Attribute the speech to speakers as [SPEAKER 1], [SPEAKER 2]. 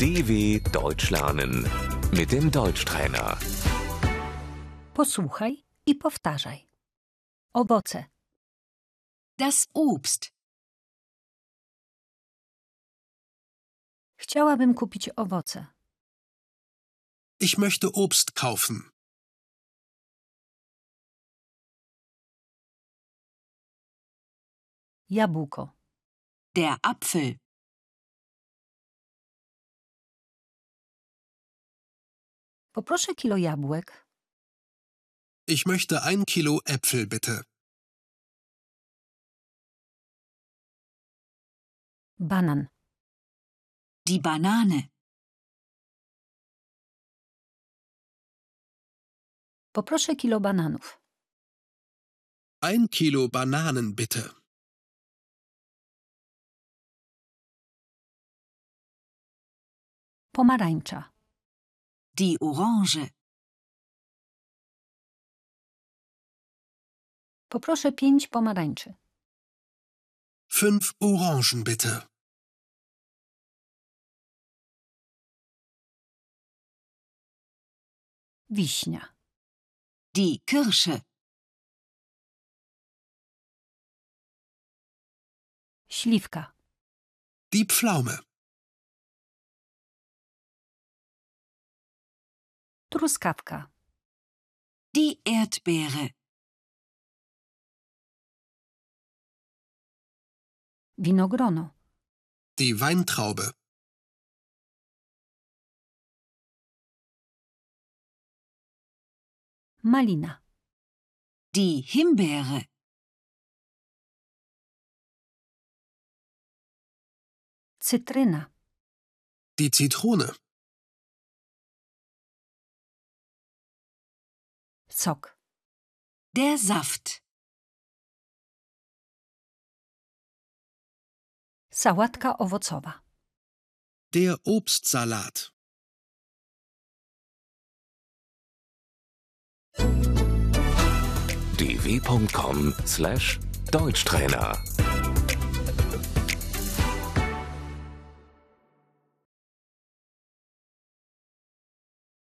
[SPEAKER 1] DW Deutsch lernen mit dem Deutschtrainer.
[SPEAKER 2] Posłuchaj i powtarzaj. Owoce,
[SPEAKER 3] Das Obst,
[SPEAKER 2] chciałabym kupić owoce,
[SPEAKER 4] Ich möchte Obst kaufen.
[SPEAKER 2] jabłko,
[SPEAKER 3] der Apfel,
[SPEAKER 2] poproszę kilo jabłek,
[SPEAKER 4] Ich möchte ein Kilo Äpfel bitte.
[SPEAKER 2] banan,
[SPEAKER 3] die Banane,
[SPEAKER 2] poproszę kilo bananów,
[SPEAKER 4] Ein Kilo Bananen bitte.
[SPEAKER 2] pomarańcza,
[SPEAKER 3] die Orange,
[SPEAKER 2] poproszę pięć pomarańczy,
[SPEAKER 4] Fünf Orangen bitte.
[SPEAKER 2] wiśnia,
[SPEAKER 3] die Kirsche,
[SPEAKER 2] śliwka,
[SPEAKER 4] Die Pflaume.
[SPEAKER 2] truskawka,
[SPEAKER 3] die Erdbeere,
[SPEAKER 2] winogrono,
[SPEAKER 4] Die Weintraube.
[SPEAKER 2] malina,
[SPEAKER 3] die Himbeere,
[SPEAKER 2] cytryna,
[SPEAKER 4] Die Zitrone.
[SPEAKER 2] sok,
[SPEAKER 3] der Saft,
[SPEAKER 2] sałatka owocowa,
[SPEAKER 4] Der Obstsalat.
[SPEAKER 1] dw.com/deutschtrainer